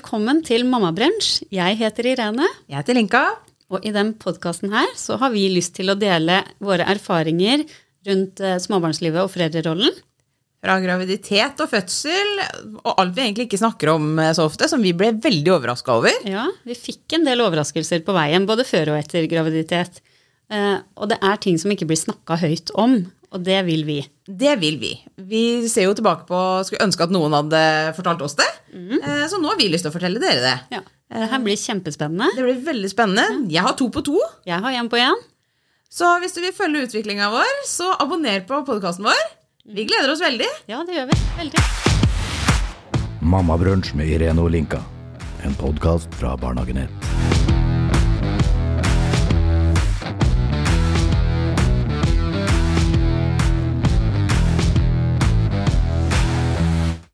velkommen til Mammabrunsj. Jeg heter Irene, Jeg heter Linka. og i den podkasten her så har vi lyst til å dele våre erfaringer rundt eh, småbarnslivet og foreldrerollen. Fra graviditet og fødsel, og alt vi egentlig ikke snakker om eh, så ofte, som vi ble veldig overraska over. Ja, vi fikk en del overraskelser på veien, både før og etter graviditet. Eh, Og det er ting som ikke blir snakka høyt om, og det vil vi. Det vil vi. Vi ser jo tilbake på Skulle ønske at noen hadde fortalt oss det. Eh, Så nå har vi lyst til å fortelle dere det. Ja, Det her blir kjempespennende. Det blir veldig spennende. Jeg har to på to. Jeg har én på én. Så hvis du vil følge utviklinga vår, så abonner på podkasten vår. Vi gleder oss veldig. Ja, det gjør vi. Veldig. Mammabrunsj med Irene og Linka. En podkast fra Barnehagen 1.